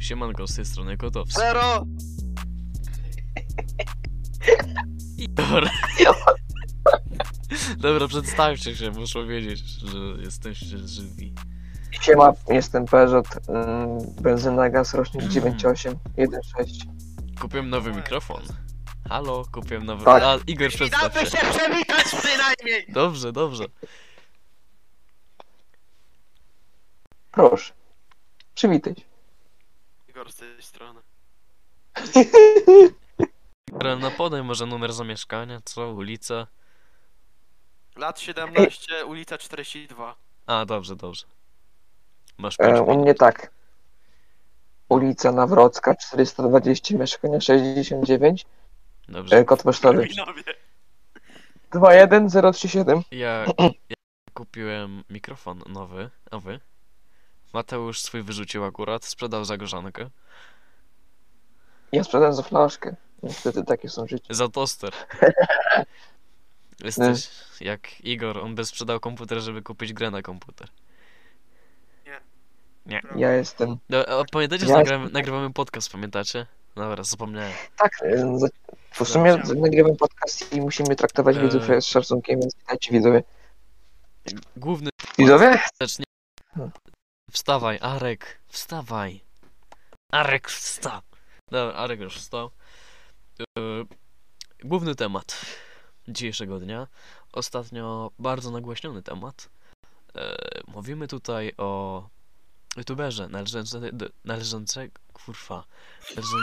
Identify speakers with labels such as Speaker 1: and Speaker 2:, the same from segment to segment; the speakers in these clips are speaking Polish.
Speaker 1: Siemanko, z tej strony Kotowski.
Speaker 2: Zero!
Speaker 1: Dobra. Dobra, przedstawcie się, muszę wiedzieć, że jesteście żywi.
Speaker 3: Siema, jestem Peugeot, ym, benzyna, gaz, rocznik 98, 1.6.
Speaker 1: Kupiłem nowy mikrofon. Halo, kupiłem nowy...
Speaker 3: Tak.
Speaker 1: A, Igor,
Speaker 2: I
Speaker 1: przedstaw
Speaker 2: damy
Speaker 1: się.
Speaker 2: się przywitać przynajmniej!
Speaker 1: Dobrze, dobrze.
Speaker 3: Proszę, przywitaj się.
Speaker 2: Igor z tej strony.
Speaker 1: Dobra, No podaj może numer zamieszkania, co, ulica.
Speaker 2: Lat 17, ulica 42.
Speaker 1: A, dobrze, dobrze. Masz
Speaker 3: E,
Speaker 1: pierwszy.
Speaker 3: u mnie tak. Ulica Nawrocka, 420, mieszkanie 69, e,
Speaker 1: Dobrze.
Speaker 3: kod pocztowy
Speaker 2: Minowie.
Speaker 3: 21037.
Speaker 1: Ja, ja kupiłem mikrofon nowy, a wy? Mateusz swój wyrzucił akurat, sprzedał za gorzankę.
Speaker 3: Ja sprzedałem za flaszkę. Niestety takie są życie.
Speaker 1: Za toster. Jesteś jak Igor, on by sprzedał komputer, żeby kupić grę na komputer.
Speaker 3: Ja jestem.
Speaker 1: No, a pamiętacie, że
Speaker 3: Ja
Speaker 1: nagramy, nagrywamy podcast, pamiętacie? Dobra, zapomniałem.
Speaker 3: Tak, e, za- w sumie nagrywam podcast i musimy traktować
Speaker 1: E.
Speaker 3: widzów z szacunkiem, więc witajcie widzowie.
Speaker 1: Główny
Speaker 3: Widzowie?
Speaker 1: zacznie. Wstawaj, Arek, wstawaj. Arek, wstaw. Dobra, Arek już wstał. Yy, Główny temat dzisiejszego dnia. Ostatnio bardzo nagłośniony temat. Yy, Mówimy tutaj o youtuberze należące, do- należące kurwa, należą...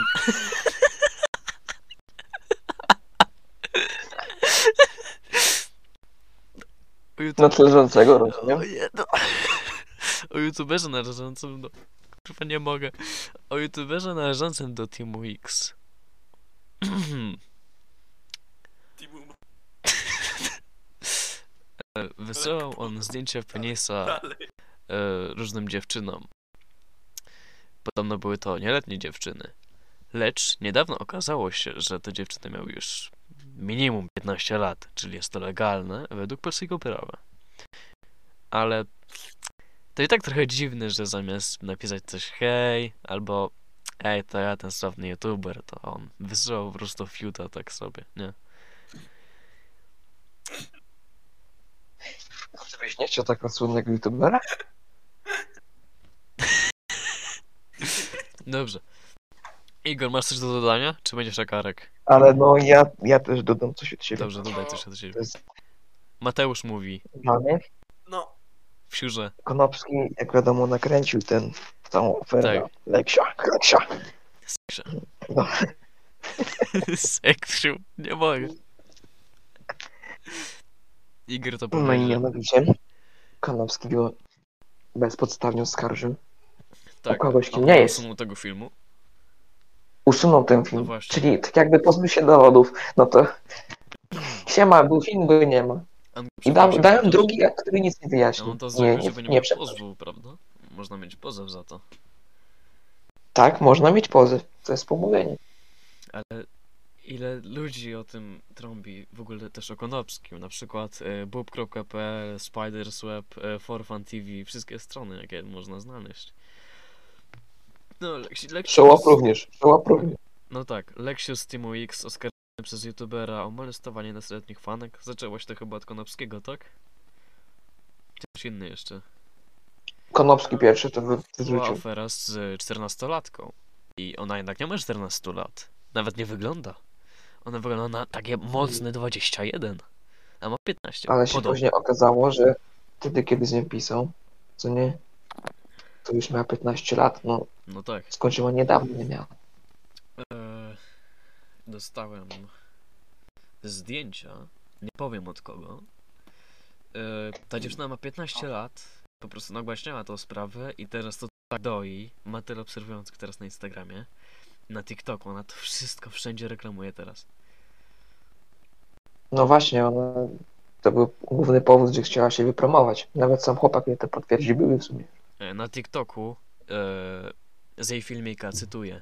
Speaker 1: O
Speaker 3: No
Speaker 1: youtuberze-
Speaker 3: tyle rządzącego, rozumiem.
Speaker 1: o, je- no. o youtuberze należącym do... Kurwa, nie mogę. O youtuberze należącym do Teamu X. Hmm.
Speaker 2: Timum
Speaker 1: E, Wysyłał on zdjęcia penisa
Speaker 2: dalej.
Speaker 1: e, różnym dziewczynom. Podobno były to nieletnie dziewczyny. Lecz niedawno okazało się, że te dziewczyny miały już minimum 15 lat, czyli jest to legalne według polskiego prawa. Ale to i tak trochę dziwne, że zamiast napisać coś hej, albo ej, to ja ten sławny youtuber, to on wysyłał po prostu fiuta tak sobie, nie?
Speaker 3: Może byś nie chciał tak taką słynnego youtubera?
Speaker 1: Dobrze. Igor, masz coś do dodania? Czy będziesz jak Arek?
Speaker 3: Ale no ja, ja też dodam coś od siebie.
Speaker 1: Dobrze,
Speaker 3: to
Speaker 1: dodaj coś od siebie.
Speaker 3: jest
Speaker 1: Mateusz mówi.
Speaker 3: dla mnie.
Speaker 2: No,
Speaker 1: W siurze.
Speaker 3: Konopski, jak wiadomo, nakręcił ten całą ofertę.
Speaker 1: Tak.
Speaker 3: Leksia, Leksia.
Speaker 1: Seksie.
Speaker 3: No.
Speaker 1: Seksiu. Nie mogę. Igor to
Speaker 3: No i
Speaker 1: powiedział.
Speaker 3: mianowicie Konopski go bezpodstawnie oskarżył.
Speaker 1: tak,
Speaker 3: o kogoś, kim
Speaker 1: a
Speaker 3: nie
Speaker 1: po
Speaker 3: jest.
Speaker 1: prostu tego filmu.
Speaker 3: Usunął ten film.
Speaker 1: No właśnie.
Speaker 3: Czyli tak jakby pozbył się dowodów. No to siema, był film, go nie ma.
Speaker 1: An-
Speaker 3: I da,
Speaker 1: przepraszam,
Speaker 3: dałem
Speaker 1: to-
Speaker 3: drugi, a który nic nie
Speaker 1: A
Speaker 3: wyjaśnił.
Speaker 1: on No, to
Speaker 3: nie,
Speaker 1: zrobił,
Speaker 3: nie,
Speaker 1: żeby nie,
Speaker 3: nie
Speaker 1: miał
Speaker 3: przepraszam.
Speaker 1: pozwu, prawda? Można mieć pozew za to.
Speaker 3: Tak, można mieć pozyw. To jest pomówienie.
Speaker 1: Ale ile ludzi o tym trąbi, w ogóle też o Konopskim, na przykład e, bub.pl, Spidersweb, e, Forfan TV, wszystkie strony, jakie można znaleźć. No, Leksi, Leksi,
Speaker 3: Przełap również, przełap również.
Speaker 1: No tak, Leksiu z Teamu X oskarżony przez youtubera o molestowanie nastoletnich fanek. Zaczęło się to chyba od Konopskiego, tak? Czy Ktoś inny jeszcze.
Speaker 3: Konopski pierwszy to wy-
Speaker 1: Była
Speaker 3: wyrzucił.
Speaker 1: afera z czternastolatką. I ona jednak nie ma 14 lat. Nawet nie wygląda. Ona wygląda na takie mocne 21. A ma 15.
Speaker 3: Ale się
Speaker 1: Podobno.
Speaker 3: później okazało, że wtedy, kiedy z nią pisał, co nie, to już miała 15 lat, no
Speaker 1: No tak.
Speaker 3: skończyła niedawno, nie miała.
Speaker 1: Eee, dostałem zdjęcia, nie powiem od kogo. Eee, ta dziewczyna ma 15 lat, po prostu nagłaśniała tą sprawę i teraz to tak doi. Ma tyle obserwujących teraz na Instagramie, na TikToku, ona to wszystko wszędzie reklamuje teraz.
Speaker 3: No właśnie, ona, to był główny powód, że chciała się wypromować. Nawet sam chłopak mnie to potwierdzi, były w sumie.
Speaker 1: E, na TikToku e, z jej filmika, cytuję.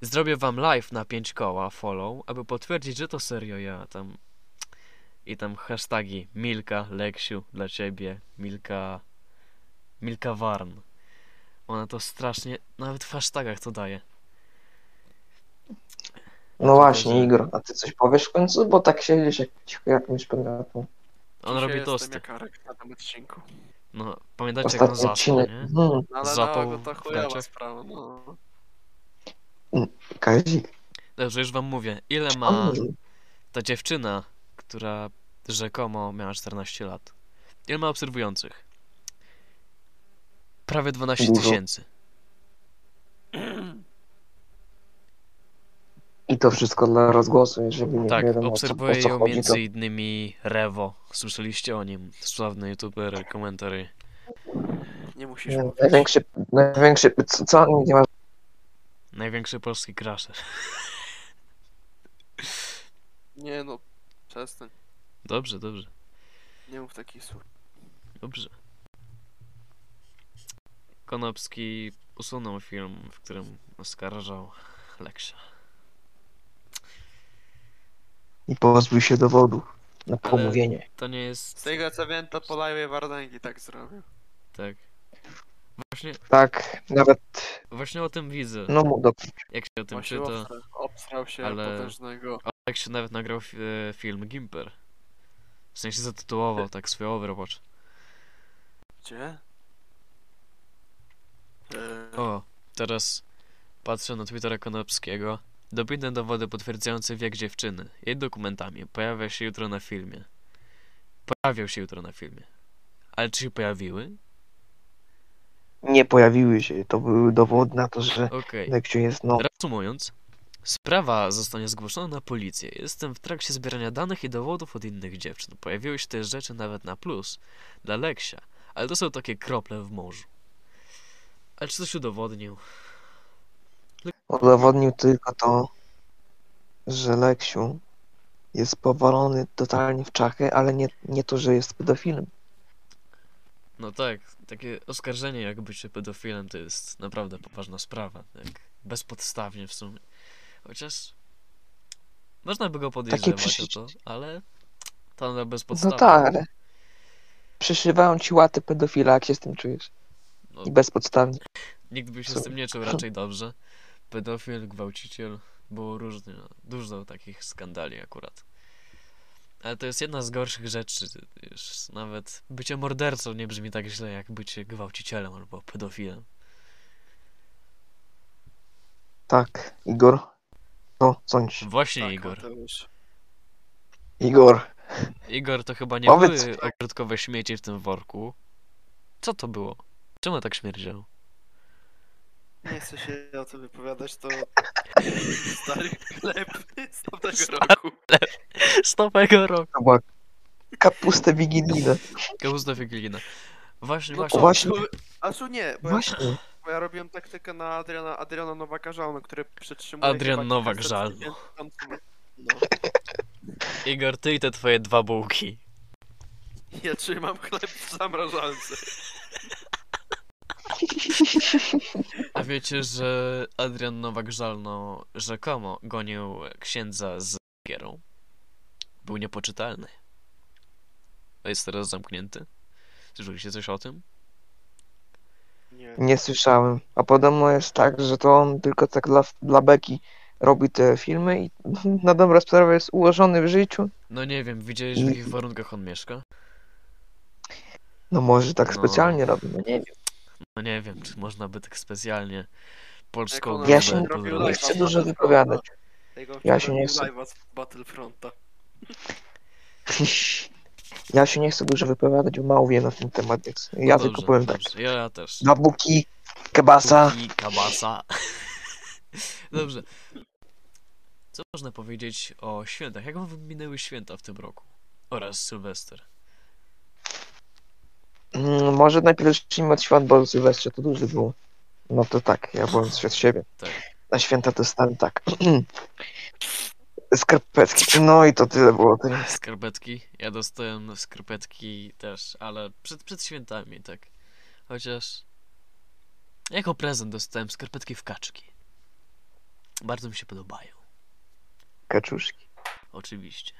Speaker 1: Zrobię wam live na 5 koła, follow, aby potwierdzić, że to serio ja tam. I tam hasztagi Milka, Leksiu, dla ciebie, Milka, Milka Warn. Ona to strasznie, nawet w hashtagach to daje.
Speaker 3: No właśnie,
Speaker 1: że-
Speaker 3: Igor, a ty coś powiesz w końcu? Bo tak siedzisz jak cicho jakimś podmiotą.
Speaker 1: On
Speaker 2: Dzisiaj
Speaker 1: robi
Speaker 2: jestem
Speaker 1: tosty.
Speaker 2: jak Arek na tym odcinku.
Speaker 1: No, pamiętacie jak on
Speaker 3: Ostatni
Speaker 1: zasnął,
Speaker 3: odcinek.
Speaker 1: nie?
Speaker 3: Hmm,
Speaker 2: No ale
Speaker 1: Zapał
Speaker 2: no, to
Speaker 1: w
Speaker 2: chujowa
Speaker 1: gaciach.
Speaker 2: sprawa, no.
Speaker 3: Kazik.
Speaker 1: Dobrze, już wam mówię. Ile ma
Speaker 3: on-
Speaker 1: ta dziewczyna, która rzekomo miała 14 lat? Ile ma obserwujących? Prawie 12
Speaker 3: Dużo.
Speaker 1: tysięcy.
Speaker 3: I to wszystko dla rozgłosu, jeżeli nie
Speaker 1: Tak,
Speaker 3: wiadomo, o co, o
Speaker 1: obserwuję
Speaker 3: co
Speaker 1: ją
Speaker 3: chodzi.
Speaker 1: między innymi Rewo. Słyszeliście o nim? Sławny youtuber, komentary.
Speaker 2: Nie musisz
Speaker 3: to...
Speaker 2: mówić.
Speaker 3: Największy, największy, co, co on nie ma
Speaker 1: Największy polski crasher.
Speaker 2: Nie no, przestań.
Speaker 1: Dobrze, dobrze,
Speaker 2: Nie mów takich słów.
Speaker 1: dobrze. Konopski usunął film, w którym oskarżał Leksia.
Speaker 3: i pozbył się dowodów na
Speaker 1: Ale-
Speaker 3: pomówienie.
Speaker 1: To nie jest...
Speaker 2: Z tego co wiem, to Polajwie Wardęgi tak zrobił.
Speaker 1: Tak. Właśnie,
Speaker 3: Tak, nawet,
Speaker 1: właśnie o tym widzę,
Speaker 3: no mu do...
Speaker 1: jak się o tym
Speaker 2: Właśnie
Speaker 1: czyta.
Speaker 2: obsra- obsrał się
Speaker 1: ale-
Speaker 2: potężnego.
Speaker 1: A tak się nawet nagrał fi- e, film Gimper. W sensie zatytułował tak swoje Overwatch.
Speaker 2: Gdzie? Eee,
Speaker 1: O, teraz patrzę na Twittera Konopskiego. Dobitne dowody potwierdzające wiek dziewczyny. Jej dokumentami. Pojawia się jutro na filmie. Pojawią się jutro na filmie. Ale czy się pojawiły?
Speaker 3: nie pojawiły się. To były dowody na to, że
Speaker 1: Okej.
Speaker 3: Lekciu jest, no,
Speaker 1: Reasumując, sprawa zostanie zgłoszona na policję. Jestem w trakcie zbierania danych i dowodów od innych dziewczyn. Pojawiły się też rzeczy nawet na plus dla Leksia, ale to są takie krople w morzu. Ale czy coś udowodnił?
Speaker 3: udowodnił tylko to, że Leksiu jest powalony totalnie w czachę, ale nie, nie to, że jest pedofilem.
Speaker 1: No tak, takie oskarżenie jak bycie pedofilem to jest naprawdę poważna sprawa. Tak bezpodstawnie w sumie. Chociaż można by go podejrzewać o
Speaker 3: przyczyny-
Speaker 1: to, ale to na
Speaker 3: No
Speaker 1: bezpodstawnie.
Speaker 3: tak, ale przyszywają ci łaty pedofila, jak się z tym czujesz.
Speaker 1: No.
Speaker 3: I bezpodstawnie.
Speaker 1: Nikt by się
Speaker 3: Co-
Speaker 1: z tym nie czuł raczej dobrze. Pedofil, gwałciciel, było różnie, no, dużo takich skandali akurat. Ale to jest jedna z gorszych rzeczy. Już nawet bycie mordercą nie brzmi tak źle jak bycie gwałcicielem albo pedofilem.
Speaker 3: Tak, Igor. No, sądź.
Speaker 1: Właśnie
Speaker 2: tak,
Speaker 1: Igor.
Speaker 2: Mateusz.
Speaker 3: Igor.
Speaker 1: Igor to chyba nie
Speaker 3: Powiedz- tak.
Speaker 1: były ogródkowe śmieci w tym worku. Co to było? Czemu tak śmierdział?
Speaker 2: Nie chcę się o tym wypowiadać, to stary chleb z tamtego
Speaker 1: Stary-
Speaker 2: roku.
Speaker 1: Z nowego roku.
Speaker 3: To była kapusta wigilijna.
Speaker 1: Kałusta Wigilina. Właśnie,
Speaker 2: No
Speaker 1: właśnie.
Speaker 2: to-
Speaker 3: właśnie.
Speaker 2: A tu nie, bo ja,
Speaker 3: Właśnie.
Speaker 2: bo ja robiłem taktykę na Adriana, Adriana Nowaka Żalno, który przetrzymuje
Speaker 1: Adrian
Speaker 2: chyba
Speaker 1: Nowak
Speaker 2: kilkaset
Speaker 1: Żalno.
Speaker 2: tysięcy tam- No,
Speaker 1: Igor, ty i te twoje dwa bułki.
Speaker 2: ja trzymam chleb w zamrażalce.
Speaker 1: A wiecie, że Adrian Nowak żalno rzekomo gonił księdza z gierą? Był niepoczytalny. A Jest teraz zamknięty. Słyszeliście coś o tym?
Speaker 2: Nie.
Speaker 3: Nie słyszałem. A podobno jest tak, że to on tylko tak dla, dla beki robi te filmy i na dobrą sprawę jest ułożony w życiu.
Speaker 1: No nie wiem, widziałeś w jakich warunkach on mieszka?
Speaker 3: No może tak
Speaker 1: No.
Speaker 3: specjalnie robi, no nie wiem.
Speaker 1: No nie wiem, czy można by tak specjalnie polską
Speaker 2: Jak on
Speaker 1: grubę
Speaker 3: Ja się nie
Speaker 2: robił
Speaker 1: podrobić.
Speaker 3: Nie
Speaker 2: live'a
Speaker 3: chcę
Speaker 2: z
Speaker 3: dużo
Speaker 2: Battlefronta.
Speaker 3: wypowiadać.
Speaker 2: Tego
Speaker 3: Ja się nie
Speaker 2: robił
Speaker 3: chcę-
Speaker 2: live'a z Battlefronta.
Speaker 3: Ja się nie chcę dużo wypowiadać, bo mało wiem na ten temat, więc ja
Speaker 1: No Dobrze,
Speaker 3: tylko powiem tak.
Speaker 1: dobrze. Ja, ja też.
Speaker 3: Dwa buki, kebasa.
Speaker 1: I kabasa. Dobrze. Co można powiedzieć o świętach? Jak wam minęły święta w tym roku? Oraz Sylwester.
Speaker 3: Mm, Może najpierw zacznijmy od świąt, bo Sylwestrze to dużo było. No to tak, ja byłem świat siebie.
Speaker 1: Tak.
Speaker 3: Na święta dostałem tak. Skarpetki. No i to tyle było teraz.
Speaker 1: Skarpetki. Ja dostałem skarpetki też, ale przed, przed świętami, tak. Chociaż. Jako prezent dostałem skarpetki w kaczki. Bardzo mi się podobają,
Speaker 3: Kaczuszki.
Speaker 1: oczywiście.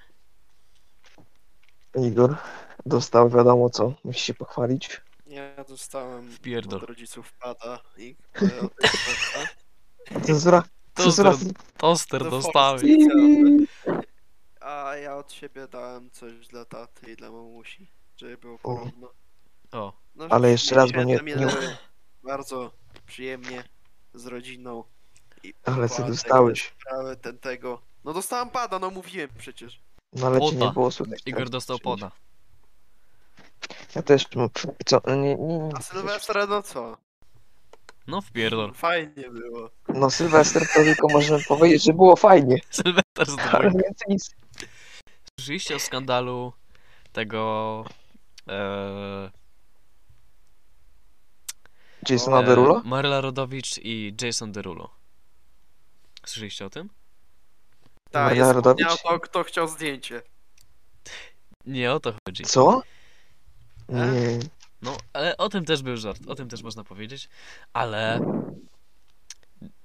Speaker 3: Igor dostał wiadomo co. Musi się pochwalić.
Speaker 2: Ja dostałem
Speaker 1: Wpierdol.
Speaker 2: od rodziców pada i e,
Speaker 3: Cenzura. Cenzura.
Speaker 1: Toster, toster
Speaker 2: To
Speaker 1: dostałem.
Speaker 2: Fox. Cenzura. a ja od siebie dałem coś dla taty i dla mamusi, żeby było porówno.
Speaker 1: O,
Speaker 2: No,
Speaker 3: Ale jeszcze raz, bo nie-
Speaker 2: święta minęły Bardzo przyjemnie z rodziną. I
Speaker 3: Ale co
Speaker 2: była
Speaker 3: dostałeś?
Speaker 2: tego sprawy, ten tego. No dostałem pada, no mówiłem przecież.
Speaker 3: No ale cię
Speaker 1: Poda.
Speaker 3: nie było słychać.
Speaker 1: Igor dostał pona.
Speaker 3: Ja też. no, pff, Co? Nie, nie, nie.
Speaker 2: A Sylwestra, no co?
Speaker 1: No wpierdol.
Speaker 2: Fajnie było.
Speaker 3: No Sylwester to tylko możemy powiedzieć, że było fajnie.
Speaker 1: Sylwester z
Speaker 3: Ale
Speaker 1: dwóch.
Speaker 3: więcej nic.
Speaker 1: Słyszeliście o skandalu tego... E,
Speaker 3: Jasona Derulo?
Speaker 1: E, Marla Rodowicz i Jason Derulo. Słyszeliście o tym?
Speaker 2: Tak,
Speaker 3: Marlena
Speaker 2: jest
Speaker 3: Rodowicz?
Speaker 2: miał to, kto chciał zdjęcie.
Speaker 1: Nie o to chodzi.
Speaker 3: Co?
Speaker 2: E?
Speaker 3: Nie.
Speaker 1: No, ale o tym też był żart, o tym też można powiedzieć, ale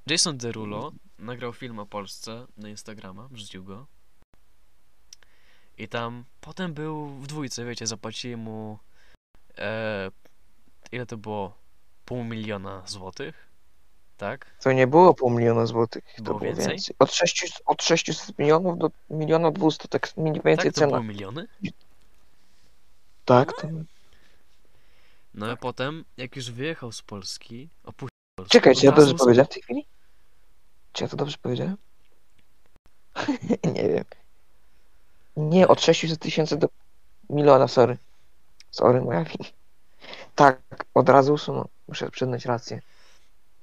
Speaker 1: Jason Derulo nagrał film o Polsce na Instagrama, wrzucił go. I tam potem był w dwójce, wiecie, zapłacili mu e, ile to było? Pół miliona złotych, tak?
Speaker 3: To nie było pół miliona złotych. To
Speaker 1: Było
Speaker 3: było
Speaker 1: więcej?
Speaker 3: więcej. Od, 6, od 600 milionów do miliona 200, tak mniej więcej
Speaker 1: Tak, to
Speaker 3: cena.
Speaker 1: były miliony?
Speaker 3: Tak, to...
Speaker 1: No a potem, jak już wyjechał z Polski, opuścił Polskę.
Speaker 3: Czekaj, czy ja
Speaker 1: od razu
Speaker 3: dobrze
Speaker 1: z-
Speaker 3: powiedziałem w tej chwili? Czy ja to dobrze powiedziałem? nie wiem. Nie, od 600 tysięcy do miliona, sorry. Sorry, moja wina. Tak, od razu usunął. Muszę przyznać rację.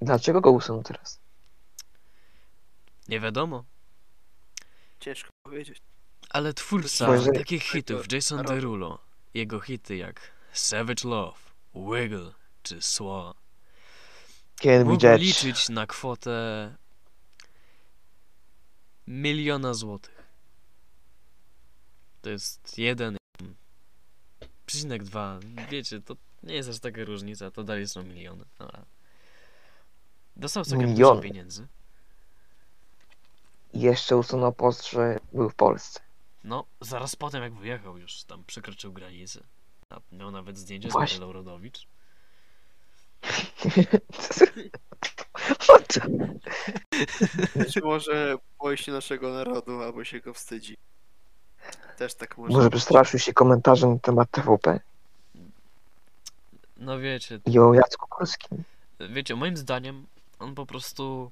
Speaker 3: Dlaczego go usunął teraz?
Speaker 1: Nie wiadomo.
Speaker 2: Ciężko powiedzieć.
Speaker 1: Ale twórca
Speaker 3: Może-
Speaker 1: takich hitów, Jason
Speaker 2: Robię.
Speaker 1: Derulo, jego hity jak Savage Love, Wiggle czy Sła,
Speaker 3: Kiedy
Speaker 1: mógł
Speaker 3: widzieć?
Speaker 1: liczyć na kwotę miliona złotych. To jest jeden przecinek dwa. Wiecie, to nie jest aż taka różnica, to dalej są miliony. No, ale dostał całkiem dużo
Speaker 3: Miliony.
Speaker 1: pieniędzy.
Speaker 3: Jeszcze usunął post, że był w Polsce.
Speaker 1: No, zaraz potem jak wyjechał już, tam przekroczył granicę. A miał nawet zdjęcie z
Speaker 3: Właśnie.
Speaker 1: Marylą Rodowicz.
Speaker 3: O co?
Speaker 2: Czy może boi się naszego narodu, albo się go wstydzi. Też tak może.
Speaker 3: Może przestraszył się komentarzem na temat TVP
Speaker 1: No wiecie,
Speaker 3: i o Jacku Kurskim.
Speaker 1: wiecie, moim zdaniem on po prostu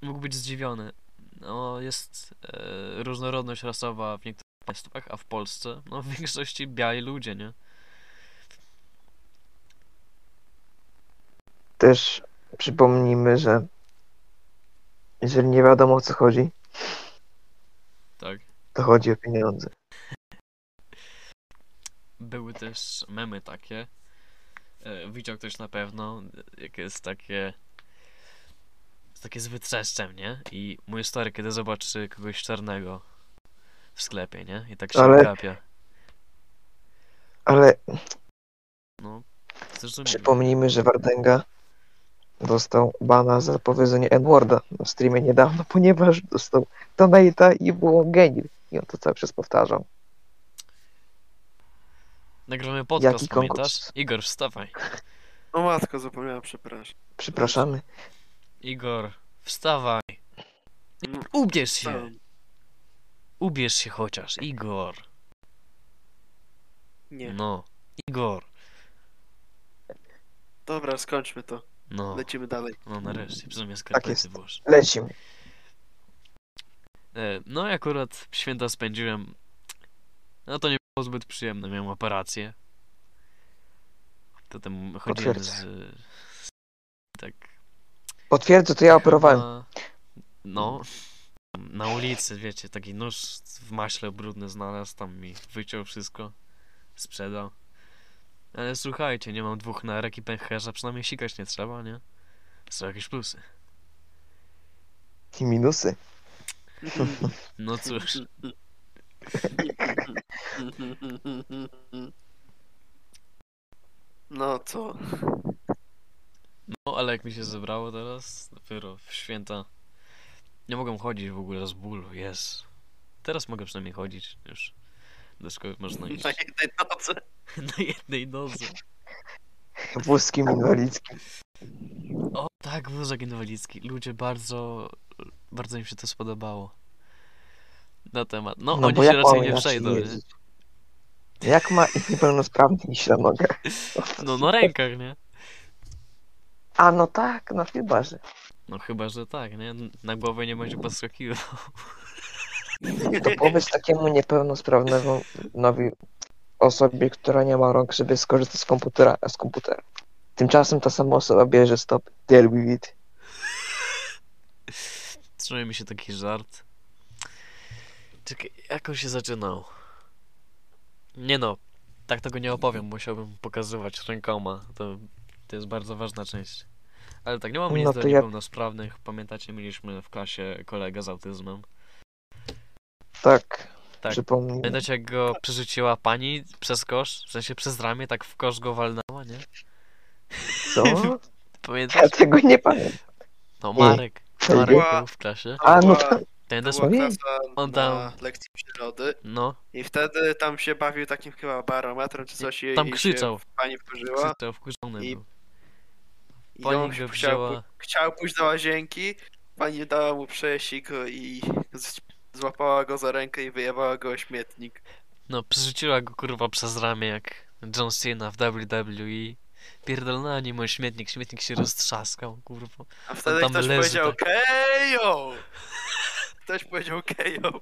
Speaker 1: mógł być zdziwiony. No, jest e, różnorodność rasowa w niektórych państwach, a w Polsce, no w większości biali ludzie, nie?
Speaker 3: Też przypomnijmy, że jeżeli nie wiadomo o co chodzi,
Speaker 1: Tak.
Speaker 3: to chodzi o pieniądze.
Speaker 1: były też memy takie. E, Widział ktoś na pewno, jak jest takie. jest Takie z wytrzeszczem, nie? I mój stary, kiedy zobaczy kogoś czarnego w sklepie, nie? I tak się
Speaker 3: Ale-
Speaker 1: wygapia.
Speaker 3: Ale
Speaker 1: No, zrozumiałem.
Speaker 3: przypomnijmy, że Wardęga dostał bana za powiedzenie Edwarda na streamie niedawno, ponieważ dostał donate'a i było genil. I on to cały czas powtarzał.
Speaker 1: Nagramy podcast,
Speaker 3: Jaki konkurs?
Speaker 1: pamiętasz? Igor, wstawaj.
Speaker 2: O No, matko, zapomniałem, przepraszam.
Speaker 3: Przepraszamy.
Speaker 1: Igor, wstawaj.
Speaker 2: No,
Speaker 1: Ubierz się.
Speaker 2: wstałem.
Speaker 1: Ubierz się chociaż, Igor.
Speaker 2: Nie.
Speaker 1: No, Igor.
Speaker 2: Dobra, skończmy to.
Speaker 1: No,
Speaker 2: Lecimy dalej.
Speaker 1: no nareszcie, w sumie skarpety
Speaker 3: Tak jest.
Speaker 1: włoż.
Speaker 3: Lecimy.
Speaker 1: E, No i akurat święta spędziłem. No to nie było zbyt przyjemne, miałem operację. Potem chodziłem z,
Speaker 3: Potwierdzam.
Speaker 1: z. Tak.
Speaker 3: Potwierdzę, to ja operowałem.
Speaker 1: Na, no. tam Na ulicy, wiecie, taki nóż w maśle brudny znalazł, tam mi wyciął wszystko. Sprzedał. Ale słuchajcie, nie mam dwóch nerek i pęcherza, przynajmniej sikać nie trzeba, nie? Są jakieś plusy.
Speaker 3: I minusy.
Speaker 1: No cóż.
Speaker 2: No co?
Speaker 1: No, ale jak mi się zebrało teraz, dopiero w święta, nie mogłem chodzić w ogóle z bólu, jest. Teraz mogę przynajmniej chodzić,
Speaker 2: Tak.
Speaker 1: już do szkoły można iść
Speaker 2: Na jednej nocy.
Speaker 1: na jednej nodze.
Speaker 3: Wózki inwalidzki.
Speaker 1: O tak, wózek inwalidzki. Ludzie bardzo, bardzo im się to spodobało. Na temat. No, oni się raczej
Speaker 3: mam
Speaker 1: nie
Speaker 3: inaczej
Speaker 1: przejdą, nie?
Speaker 3: jeździć? Jak ma niepełnosprawny iść na nogach?
Speaker 1: No na rękach, nie?
Speaker 3: A no tak, no chyba, że.
Speaker 1: No chyba, że tak, nie? Na głowę nie będzie podskakiwał.
Speaker 3: To powiedz takiemu niepełnosprawnemu nowi osobie, która nie ma rąk, żeby skorzystać z komputera, z komputera. Tymczasem ta sama osoba bierze stop. Deal with it.
Speaker 1: Trzymaj mi się taki żart. Czekaj, jak on się zaczynał? Nie no, tak tego nie opowiem, musiałbym pokazywać rękoma. To, to jest bardzo ważna część. Ale tak, nie mamy nic
Speaker 3: No
Speaker 1: do
Speaker 3: to ja-
Speaker 1: niepełnosprawnych. Pamiętacie, mieliśmy w klasie kolegę z autyzmem.
Speaker 3: Tak,
Speaker 1: Tak.
Speaker 3: przypomnij.
Speaker 1: Pamiętacie, jak go przerzuciła pani przez kosz? W sensie przez ramię, tak w kosz go walnęła, nie?
Speaker 3: Co? Ja
Speaker 1: Pamiętasz?
Speaker 3: tego nie pamiętam.
Speaker 1: No, Marek.
Speaker 3: To
Speaker 1: Marek
Speaker 2: była-
Speaker 1: był w klasie.
Speaker 3: A no
Speaker 2: była-
Speaker 3: tak,
Speaker 1: Pamiętasz?
Speaker 2: była
Speaker 3: nie.
Speaker 2: klasa
Speaker 1: On
Speaker 2: na
Speaker 1: tam-
Speaker 2: lekcji przyrody
Speaker 1: No,
Speaker 2: i wtedy tam się bawił takim chyba barometrem czy coś i
Speaker 1: tam
Speaker 2: i
Speaker 1: krzyczał.
Speaker 2: się pani wkurzyła
Speaker 1: krzyczał, wkurzony
Speaker 2: I-
Speaker 1: był.
Speaker 2: i
Speaker 1: Pani
Speaker 2: on
Speaker 1: go
Speaker 2: się
Speaker 1: wzięła-
Speaker 2: chciał, chciał pójść do łazienki, pani dała mu przejeździk i z- złapała go za rękę i wyjebała go o śmietnik.
Speaker 1: No, przerzuciła go kurwa przez ramię jak John Cena w WWE. Pierdolna nim o śmietnik, śmietnik się roztrzaskał, kurwa.
Speaker 2: A wtedy
Speaker 1: tam
Speaker 2: ktoś
Speaker 1: leży
Speaker 2: powiedział
Speaker 1: tak.
Speaker 2: KEJO! Ktoś powiedział KEJO,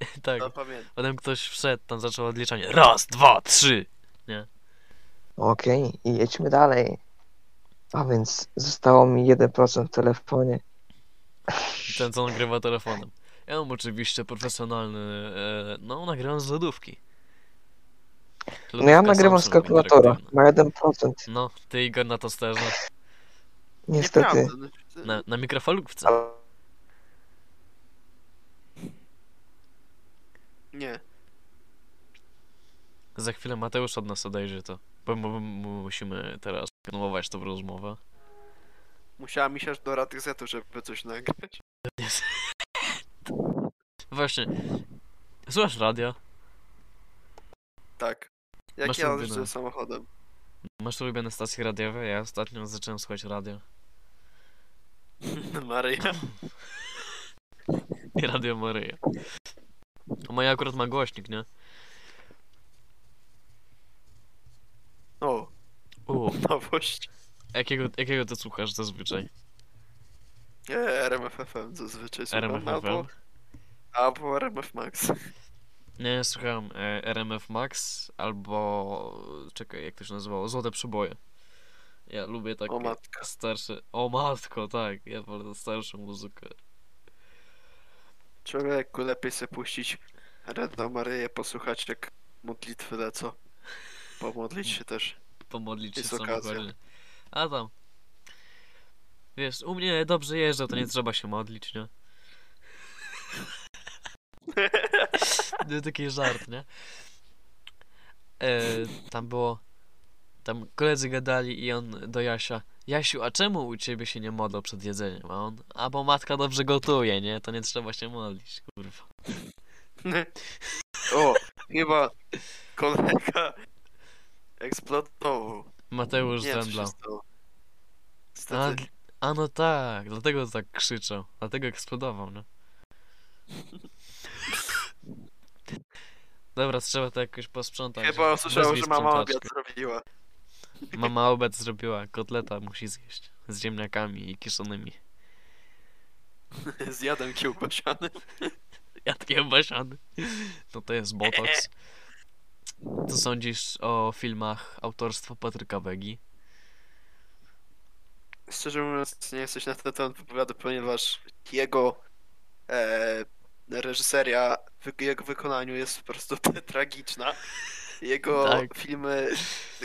Speaker 1: Tak,
Speaker 2: to
Speaker 3: No.
Speaker 2: No, pamiętam.
Speaker 1: potem ktoś wszedł, tam zaczął odliczanie. Raz, dwa, trzy!
Speaker 3: okej, i jedźmy dalej. A więc zostało mi 1% w telefonie.
Speaker 1: I Ten, co nagrywa telefonem. Ja mam oczywiście profesjonalny, e, no, nagrywam z lodówki.
Speaker 3: No ja
Speaker 1: Lodówka
Speaker 3: nagrywam z
Speaker 1: Samsung
Speaker 3: kalkulatora,
Speaker 1: interaktywna.
Speaker 3: ma 1%,
Speaker 1: No, ty Igor na tosterze,
Speaker 3: niestety.
Speaker 2: Nieprawda, no.
Speaker 1: na, na mikrofalówce.
Speaker 2: Nie.
Speaker 1: Za chwilę Mateusz od nas odejrzy to, bo mu- mu- musimy teraz kontynuować tą rozmowę.
Speaker 2: Musiała mi się aż do raty zetu, żeby coś nagrać.
Speaker 1: Właśnie. Słuchasz radia?
Speaker 2: Tak. Jak
Speaker 1: Masz
Speaker 2: ja
Speaker 1: ulubione-
Speaker 2: jeżdżę samochodem?
Speaker 1: Masz ulubione stacje radiowe? Ja ostatnio zacząłem słuchać radia.
Speaker 2: Maria.
Speaker 1: I Radio Maryja. To moja akurat ma głośnik, nie?
Speaker 2: O,
Speaker 1: U,
Speaker 2: nowość.
Speaker 1: jakiego, jakiego ty słuchasz zazwyczaj?
Speaker 2: Nie, RMFFM zazwyczaj słucham.
Speaker 1: RMF
Speaker 2: Albo,
Speaker 1: FM?
Speaker 2: albo RMF Max.
Speaker 1: Nie, słuchałem e, RMF Max albo... Czekaj, jak to się nazywało? Złote Przyboje. Ja lubię takie
Speaker 2: O matka.
Speaker 1: starsze... O matko, tak. Ja wolę starszą muzykę.
Speaker 2: Człowieku, lepiej sobie puścić Redną Maryję, posłuchać jak modlitwy lecą. Pomodlić się też.
Speaker 1: pomodlić się w
Speaker 2: Jest okazja.
Speaker 1: samochodzie. A tam. Wiesz, u mnie dobrze jeżdżą, to nie trzeba się modlić, nie? To jest No, taki żart, nie? E, tam było. Tam koledzy gadali i on do Jasia. Jasiu, a czemu u ciebie się nie modlą przed jedzeniem? A on. A bo matka dobrze gotuje, nie? To nie trzeba się modlić, kurwa.
Speaker 2: O, chyba kolega eksplodował.
Speaker 1: Mateusz
Speaker 2: Nie, co się
Speaker 1: zemdlał.
Speaker 2: stało?
Speaker 1: A,
Speaker 2: Niestety.
Speaker 1: dl- a no tak, dlatego tak krzyczał, dlatego eksplodował, no. Dobra, trzeba to jakoś posprzątać.
Speaker 2: Chyba usłyszał,
Speaker 1: Wezwij
Speaker 2: że mama obiad
Speaker 1: sprzątaczkę.
Speaker 2: zrobiła.
Speaker 1: Mama obiad zrobiła, kotleta musi zjeść. Z ziemniakami i kiszonymi.
Speaker 2: Zjadłem kiełbasiany.
Speaker 1: Jadkiem basiany. No to jest botox. Co sądzisz o filmach autorstwa Patryka Wegi?
Speaker 2: Szczerze mówiąc, nie jesteś na ten temat wypowiadu, ponieważ jego e, reżyseria w jego wykonaniu jest po prostu tragiczna. Jego
Speaker 1: Tak.
Speaker 2: filmy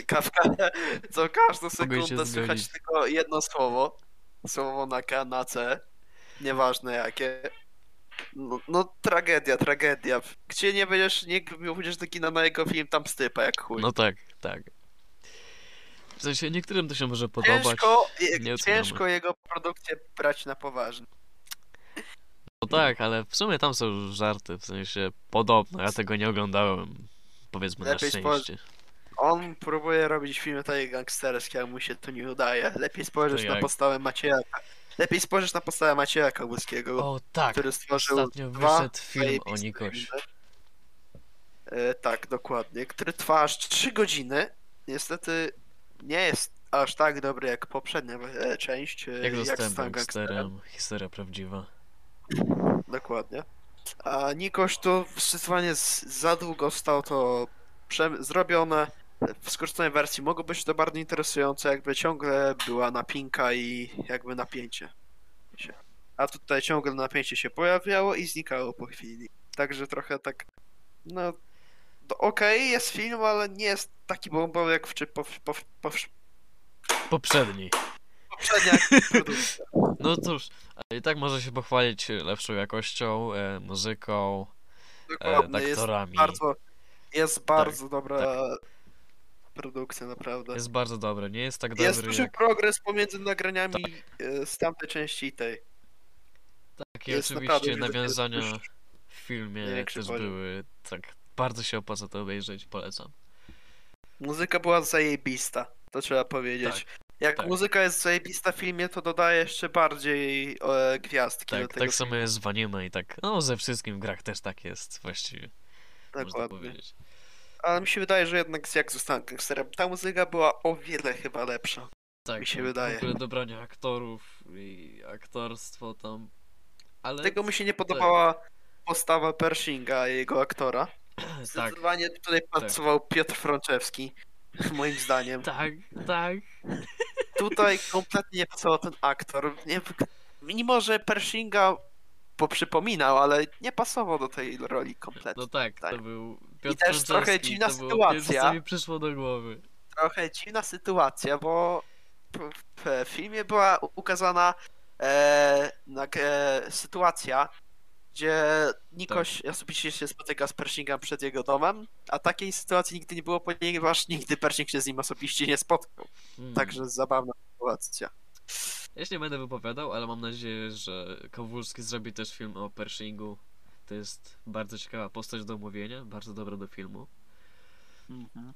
Speaker 2: kawka, co każdą sekundę słychać
Speaker 1: zgodzić.
Speaker 2: tylko jedno słowo. Słowo na K, na C. Nieważne jakie. No, no tragedia, tragedia. Gdzie nie będziesz, nie pójdziesz do kina na jego film, tam stypa jak chuj.
Speaker 1: No tak, tak. W sensie niektórym to się może podobać.
Speaker 2: ciężko,
Speaker 1: nie oceniamy.
Speaker 2: ciężko jego produkcję brać na poważnie.
Speaker 1: No tak, ale w sumie tam są żarty, w sensie podobno, ja tego nie oglądałem, powiedzmy na
Speaker 2: Lepiej spojrzeć.
Speaker 1: szczęście.
Speaker 2: On próbuje robić filmy takie gangsterskie, a mu się to nie udaje. Lepiej spojrzeć
Speaker 1: To
Speaker 2: na
Speaker 1: jak?
Speaker 2: postawę Macieja. Lepiej spojrzeć na postawę Macieja Koguskiego,
Speaker 1: O tak,
Speaker 2: który stworzył
Speaker 1: ostatnio
Speaker 2: dwa
Speaker 1: wyszedł film o
Speaker 2: zajebiste
Speaker 1: Nikoś.
Speaker 2: filmy. E, tak, dokładnie. Który trwa aż 3 godziny. Niestety nie jest aż tak dobry jak poprzednia e, część. e,
Speaker 1: Jak zostałem
Speaker 2: z Tam Gangsterem.
Speaker 1: gangsterem? Historia prawdziwa.
Speaker 2: Dokładnie. A Nikoś to zdecydowanie z- za długo stał to prze- zrobione. W skróconej wersji mogłoby być to bardzo interesujące, jakby ciągle była napinka i jakby napięcie. się. A tutaj ciągle napięcie się pojawiało i znikało po chwili. Także trochę tak. No. to Okej, jest film, ale nie jest taki bombowy jak w, czy po, po, po,
Speaker 1: Poprzedni.
Speaker 2: poprzedniach produkcjach.
Speaker 1: No cóż, ale i tak może się pochwalić lepszą jakością, e, muzyką, e,
Speaker 2: Dokładnie, jest
Speaker 1: aktorami.
Speaker 2: bardzo,
Speaker 1: Tak,
Speaker 2: jest bardzo dobra produkcja, naprawdę.
Speaker 1: Jest bardzo dobre, nie jest tak
Speaker 2: Jest
Speaker 1: dobry
Speaker 2: duży
Speaker 1: jak... Tak.
Speaker 2: progres pomiędzy nagraniami e, z tamtej części i tej.
Speaker 1: Takie
Speaker 2: jest
Speaker 1: tak, oczywiście
Speaker 2: naprawdę, że to jest
Speaker 1: nawiązania
Speaker 2: już-
Speaker 1: w filmie
Speaker 2: największy
Speaker 1: też
Speaker 2: poziom.
Speaker 1: były, tak bardzo się opłaca to obejrzeć, polecam.
Speaker 2: Muzyka była zajebista, to trzeba powiedzieć. Jak
Speaker 1: tak.
Speaker 2: muzyka jest zajebista w filmie, to dodaje jeszcze bardziej e, gwiazdki do
Speaker 1: Tak,
Speaker 2: tego.
Speaker 1: tak samo jest z anime i tak, no ze wszystkim w grach też tak jest właściwie, można
Speaker 2: Dokładnie. Tak,
Speaker 1: powiedzieć.
Speaker 2: Ale mi się wydaje, że jednak z jak zostałem gangsterem, ta muzyka była o wiele chyba lepsza.
Speaker 1: Tak,
Speaker 2: Mi się
Speaker 1: no,
Speaker 2: wydaje.
Speaker 1: w ogóle dobranie aktorów i aktorstwo tam, ale...
Speaker 2: Tego mi się
Speaker 1: tak.
Speaker 2: nie podobała postawa Pershinga i jego aktora.
Speaker 1: tak,
Speaker 2: Zdecydowanie tutaj pracował Piotr Frączewski, moim zdaniem.
Speaker 1: tak, tak.
Speaker 2: Tutaj kompletnie nie pasował ten aktor. Nie, mimo, że Pershinga poprzypominał, ale nie pasował do tej roli kompletnie.
Speaker 1: No tak,
Speaker 2: Tak.
Speaker 1: to był Piotr
Speaker 2: też
Speaker 1: Franceski,
Speaker 2: trochę dziwna
Speaker 1: to było Pierwsze, co
Speaker 2: sytuacja.
Speaker 1: mi przyszło do głowy.
Speaker 2: Trochę dziwna sytuacja, bo w- w filmie była u- ukazana e, tak, e, sytuacja, gdzie Nikoś
Speaker 1: Tak.
Speaker 2: osobiście się spotyka z Pershingem przed jego domem, a takiej sytuacji nigdy nie było, ponieważ nigdy Pershing się z nim osobiście nie spotkał.
Speaker 1: Hmm.
Speaker 2: Także zabawna sytuacja.
Speaker 1: Ja się nie będę wypowiadał, ale mam nadzieję, że Kowulski zrobi też film o Pershingu. To jest bardzo ciekawa postać do omówienia, bardzo dobra do filmu. Mhm.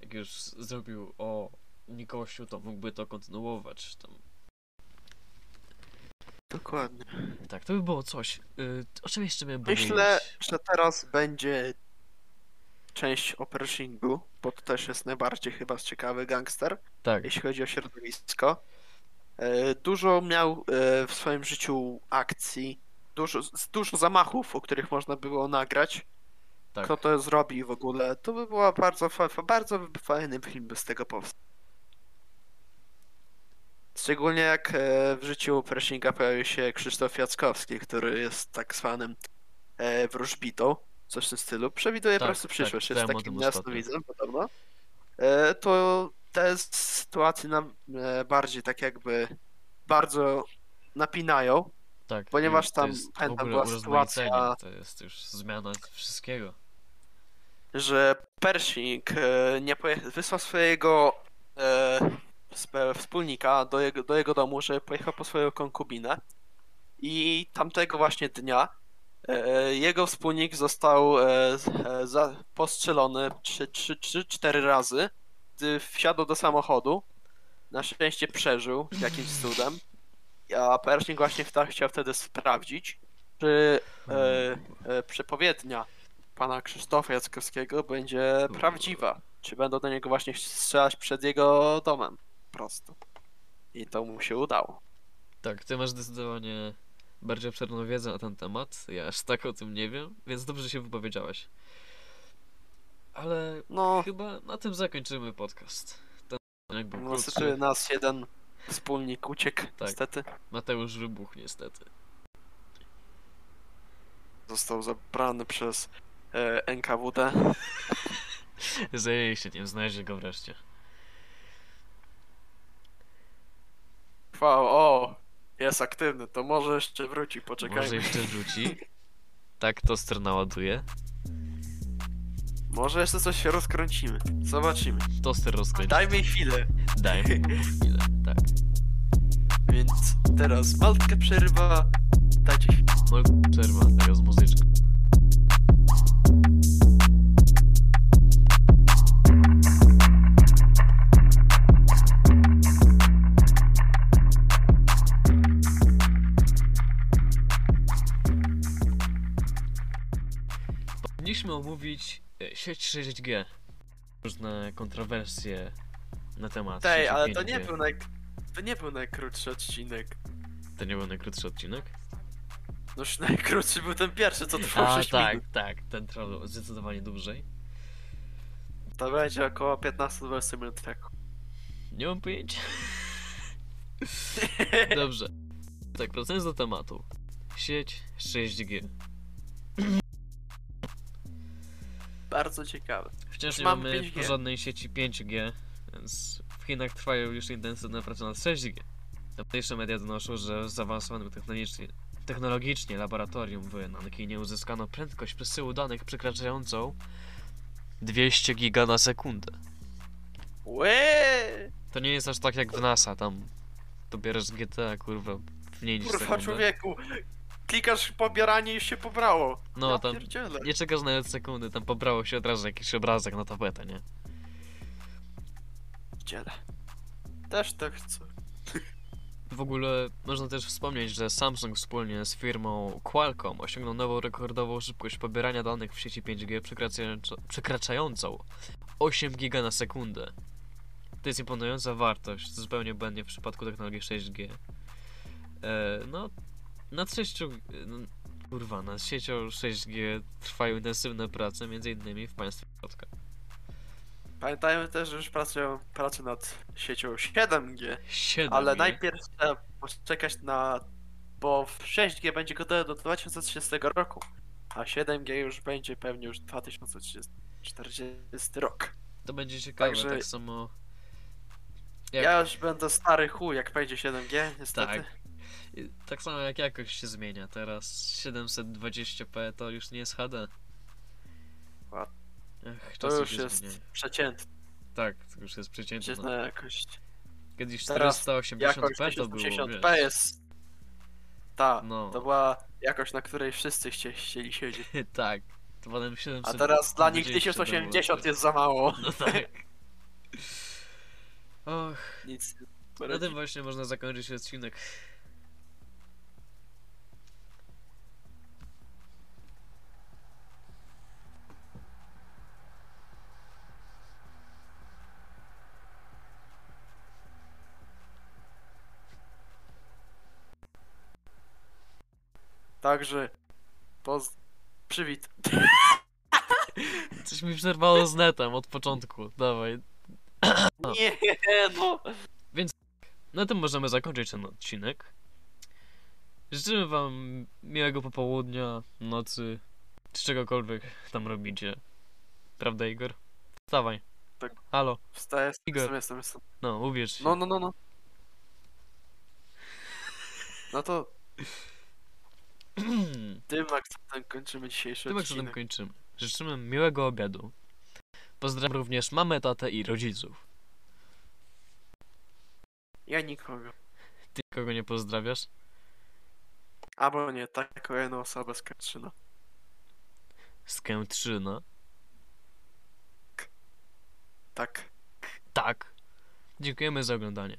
Speaker 1: Jak już zrobił o Nikosiu, to mógłby to kontynuować. Tam.
Speaker 2: Dokładnie.
Speaker 1: Tak, to by było coś. Yy, o czym jeszcze miałem
Speaker 2: Myślę,
Speaker 1: powiedzieć?
Speaker 2: że teraz będzie część o Pershingu, bo to też jest najbardziej chyba ciekawy gangster,
Speaker 1: Tak,
Speaker 2: jeśli chodzi o środowisko. E, Dużo miał e, w swoim życiu akcji, dużo, z- dużo zamachów, o których można było nagrać.
Speaker 1: tak.
Speaker 2: Kto to zrobi w ogóle, to by była bardzo, fa- fa- bardzo by- fajny film by z tego powstał. Szczególnie jak e, w życiu Pershinga pojawił się Krzysztof Jackowski, który jest tak zwanym e, wróżbitą, coś w tym stylu. Przewiduje
Speaker 1: Tak,
Speaker 2: po prostu
Speaker 1: tak,
Speaker 2: przyszłość,
Speaker 1: czytałem
Speaker 2: jest
Speaker 1: o
Speaker 2: takim
Speaker 1: tym ostatnio.
Speaker 2: jasnowidzem podobno. E, to te sytuacje nam e, bardziej tak jakby bardzo napinają.
Speaker 1: tak.
Speaker 2: ponieważ
Speaker 1: I to
Speaker 2: tam,
Speaker 1: jest w
Speaker 2: pamiętam,
Speaker 1: ogóle
Speaker 2: była
Speaker 1: urozmaicenie,
Speaker 2: sytuacja-
Speaker 1: To jest już zmiana wszystkiego.
Speaker 2: że Pershing e, nie pojecha- wysłał swojego e, spe- wspólnika do jego, do jego domu, żeby pojechał po swoją konkubinę. I tamtego właśnie dnia e, jego wspólnik został e, z- e, za, postrzelony 3-4 razy, gdy wsiadł do samochodu. Na szczęście przeżył jakimś cudem. A Pershing właśnie wta- chciał wtedy sprawdzić, czy e, e, przepowiednia pana Krzysztofa Jackowskiego będzie
Speaker 1: Kurwa.
Speaker 2: prawdziwa. Czy będą do niego właśnie strzelać przed jego domem? Po prostu. I to mu się udało.
Speaker 1: Tak, ty masz zdecydowanie bardziej obszerną wiedzę na ten temat. Ja aż tak o tym nie wiem, więc dobrze się wypowiedziałaś. Ale
Speaker 2: No,
Speaker 1: chyba na tym zakończymy podcast. Ten odcinek był
Speaker 2: niestety
Speaker 1: krótszy.
Speaker 2: nas jeden wspólnik uciekł,
Speaker 1: Tak.
Speaker 2: niestety.
Speaker 1: Mateusz wybuchł niestety.
Speaker 2: Został zabrany przez e, NKWD.
Speaker 1: Zajęliście nim, znajdzie go wreszcie.
Speaker 2: Chwała, o, jest aktywny, to może jeszcze wróci, poczekajmy.
Speaker 1: Może
Speaker 2: Może,
Speaker 1: jeszcze rzuci. Tak to strona ładuje.
Speaker 2: jeszcze coś się rozkręcimy, zobaczymy.
Speaker 1: Toster rozkręci.
Speaker 2: Daj mi chwilę,
Speaker 1: Daj mi chwilę. Tak.
Speaker 2: więc teraz Maltka przerywa, dajcie chwilę.
Speaker 1: No i przerwa teraz muzyczka. Powinniśmy omówić e, sieć 6G. Różne kontrowersje na temat
Speaker 2: Tej,
Speaker 1: sieci
Speaker 2: ale to
Speaker 1: 5G.
Speaker 2: nie był naj... To nie był najkrótszy odcinek.
Speaker 1: To nie był najkrótszy odcinek?
Speaker 2: No już najkrótszy był ten pierwszy, co trwał
Speaker 1: A,
Speaker 2: 6
Speaker 1: tak,
Speaker 2: minut.
Speaker 1: tak, ten trwał zdecydowanie dłużej.
Speaker 2: To będzie około 15-20 minut tak.
Speaker 1: Nie mam pojęcia. Dobrze. Tak, wracając do tematu. Sieć 6G.
Speaker 2: Bardzo ciekawe.
Speaker 1: Wciąż
Speaker 2: Już
Speaker 1: nie
Speaker 2: mamy
Speaker 1: mamy
Speaker 2: 5G.
Speaker 1: porządnej sieci 5G, więc w Chinach trwają już intensywne prace nad 6G. Tamtejsze media donoszą, że w zaawansowanym technologicznie, technologicznie laboratorium w Nankinie uzyskano prędkość przesyłu danych przekraczającą 200 giga na sekundę.
Speaker 2: Łeee!
Speaker 1: To nie jest aż tak jak w NASA, tam dobierasz GTA, kurwa, w niej niż
Speaker 2: Kurwa
Speaker 1: sekundę.
Speaker 2: człowieku! Klikasz pobieranie i już się pobrało.
Speaker 1: No,
Speaker 2: ja
Speaker 1: tam
Speaker 2: pierdzielę.
Speaker 1: nie czekasz nawet sekundy, tam pobrało się od razu jakiś obrazek na tapetę, nie?
Speaker 2: Pierdzielę. Też tak chcę.
Speaker 1: W ogóle można też wspomnieć, że Samsung wspólnie z firmą Qualcomm osiągnął nową rekordową szybkość pobierania danych w sieci 5G przekraczająco- przekraczającą 8 giga na sekundę. To jest imponująca wartość, zupełnie błędnie w przypadku technologii 6G. E, no, nad sześciu... n- no, Kurwa, nad siecią 6G trwają intensywne prace, m.in. w państwie środka.
Speaker 2: Pamiętajmy też, że już pracują prace nad siecią 7G,
Speaker 1: 7
Speaker 2: ale najpierw trzeba poczekać na... bo w 6G będzie gotowe do 2030 roku, a 7G już będzie pewnie już 2040 rok.
Speaker 1: To będzie ciekawe,
Speaker 2: Także-
Speaker 1: tak samo... Jak...
Speaker 2: Ja już będę stary chuj, jak będzie 7G, niestety.
Speaker 1: Tak. I Tak samo jak jakość się zmienia. Teraz 720p to już nie jest HD.
Speaker 2: A
Speaker 1: Ach,
Speaker 2: To
Speaker 1: czasy
Speaker 2: już
Speaker 1: się
Speaker 2: jest
Speaker 1: zmieniają.
Speaker 2: przeciętne
Speaker 1: Tak, to już jest przeciętne.
Speaker 2: przeciętna jakość.
Speaker 1: Kiedyś
Speaker 2: teraz
Speaker 1: 480p
Speaker 2: Jakość
Speaker 1: to było,
Speaker 2: 80p jest... Ta,
Speaker 1: No.
Speaker 2: to była jakość, na której wszyscy chcie, chcieli siedzieć.
Speaker 1: wiesz. Tak, to potem 700...
Speaker 2: A teraz dla nich 1080 jest za mało.
Speaker 1: No tak. Och,
Speaker 2: Nic.
Speaker 1: na tym właśnie można zakończyć odcinek.
Speaker 2: Także... Poz... Przywit.
Speaker 1: Coś mi przerwało z netem od początku. Dawaj. No.
Speaker 2: Nie, no!
Speaker 1: Na tym możemy zakończyć ten odcinek. Życzymy Wam miłego popołudnia, nocy, czy czegokolwiek tam robicie. Prawda, Igor? Wstawaj.
Speaker 2: Tak.
Speaker 1: Halo.
Speaker 2: Wstaję,
Speaker 1: Igor.
Speaker 2: jestem, jestem, jestem.
Speaker 1: No, uwierz się.
Speaker 2: No, no, no, no. No to tym akcentem kończymy dzisiejszy
Speaker 1: Tym akcentem
Speaker 2: odcinek.
Speaker 1: kończymy. Życzymy miłego obiadu. Pozdrawiam również mamę, tatę i rodziców.
Speaker 2: Ja nikogo.
Speaker 1: Ty kogo nie pozdrawiasz?
Speaker 2: Albo nie, taką jedną osobę no. z Katrzyna.
Speaker 1: Skętrzyna.
Speaker 2: Tak.
Speaker 1: Tak. Dziękujemy za oglądanie.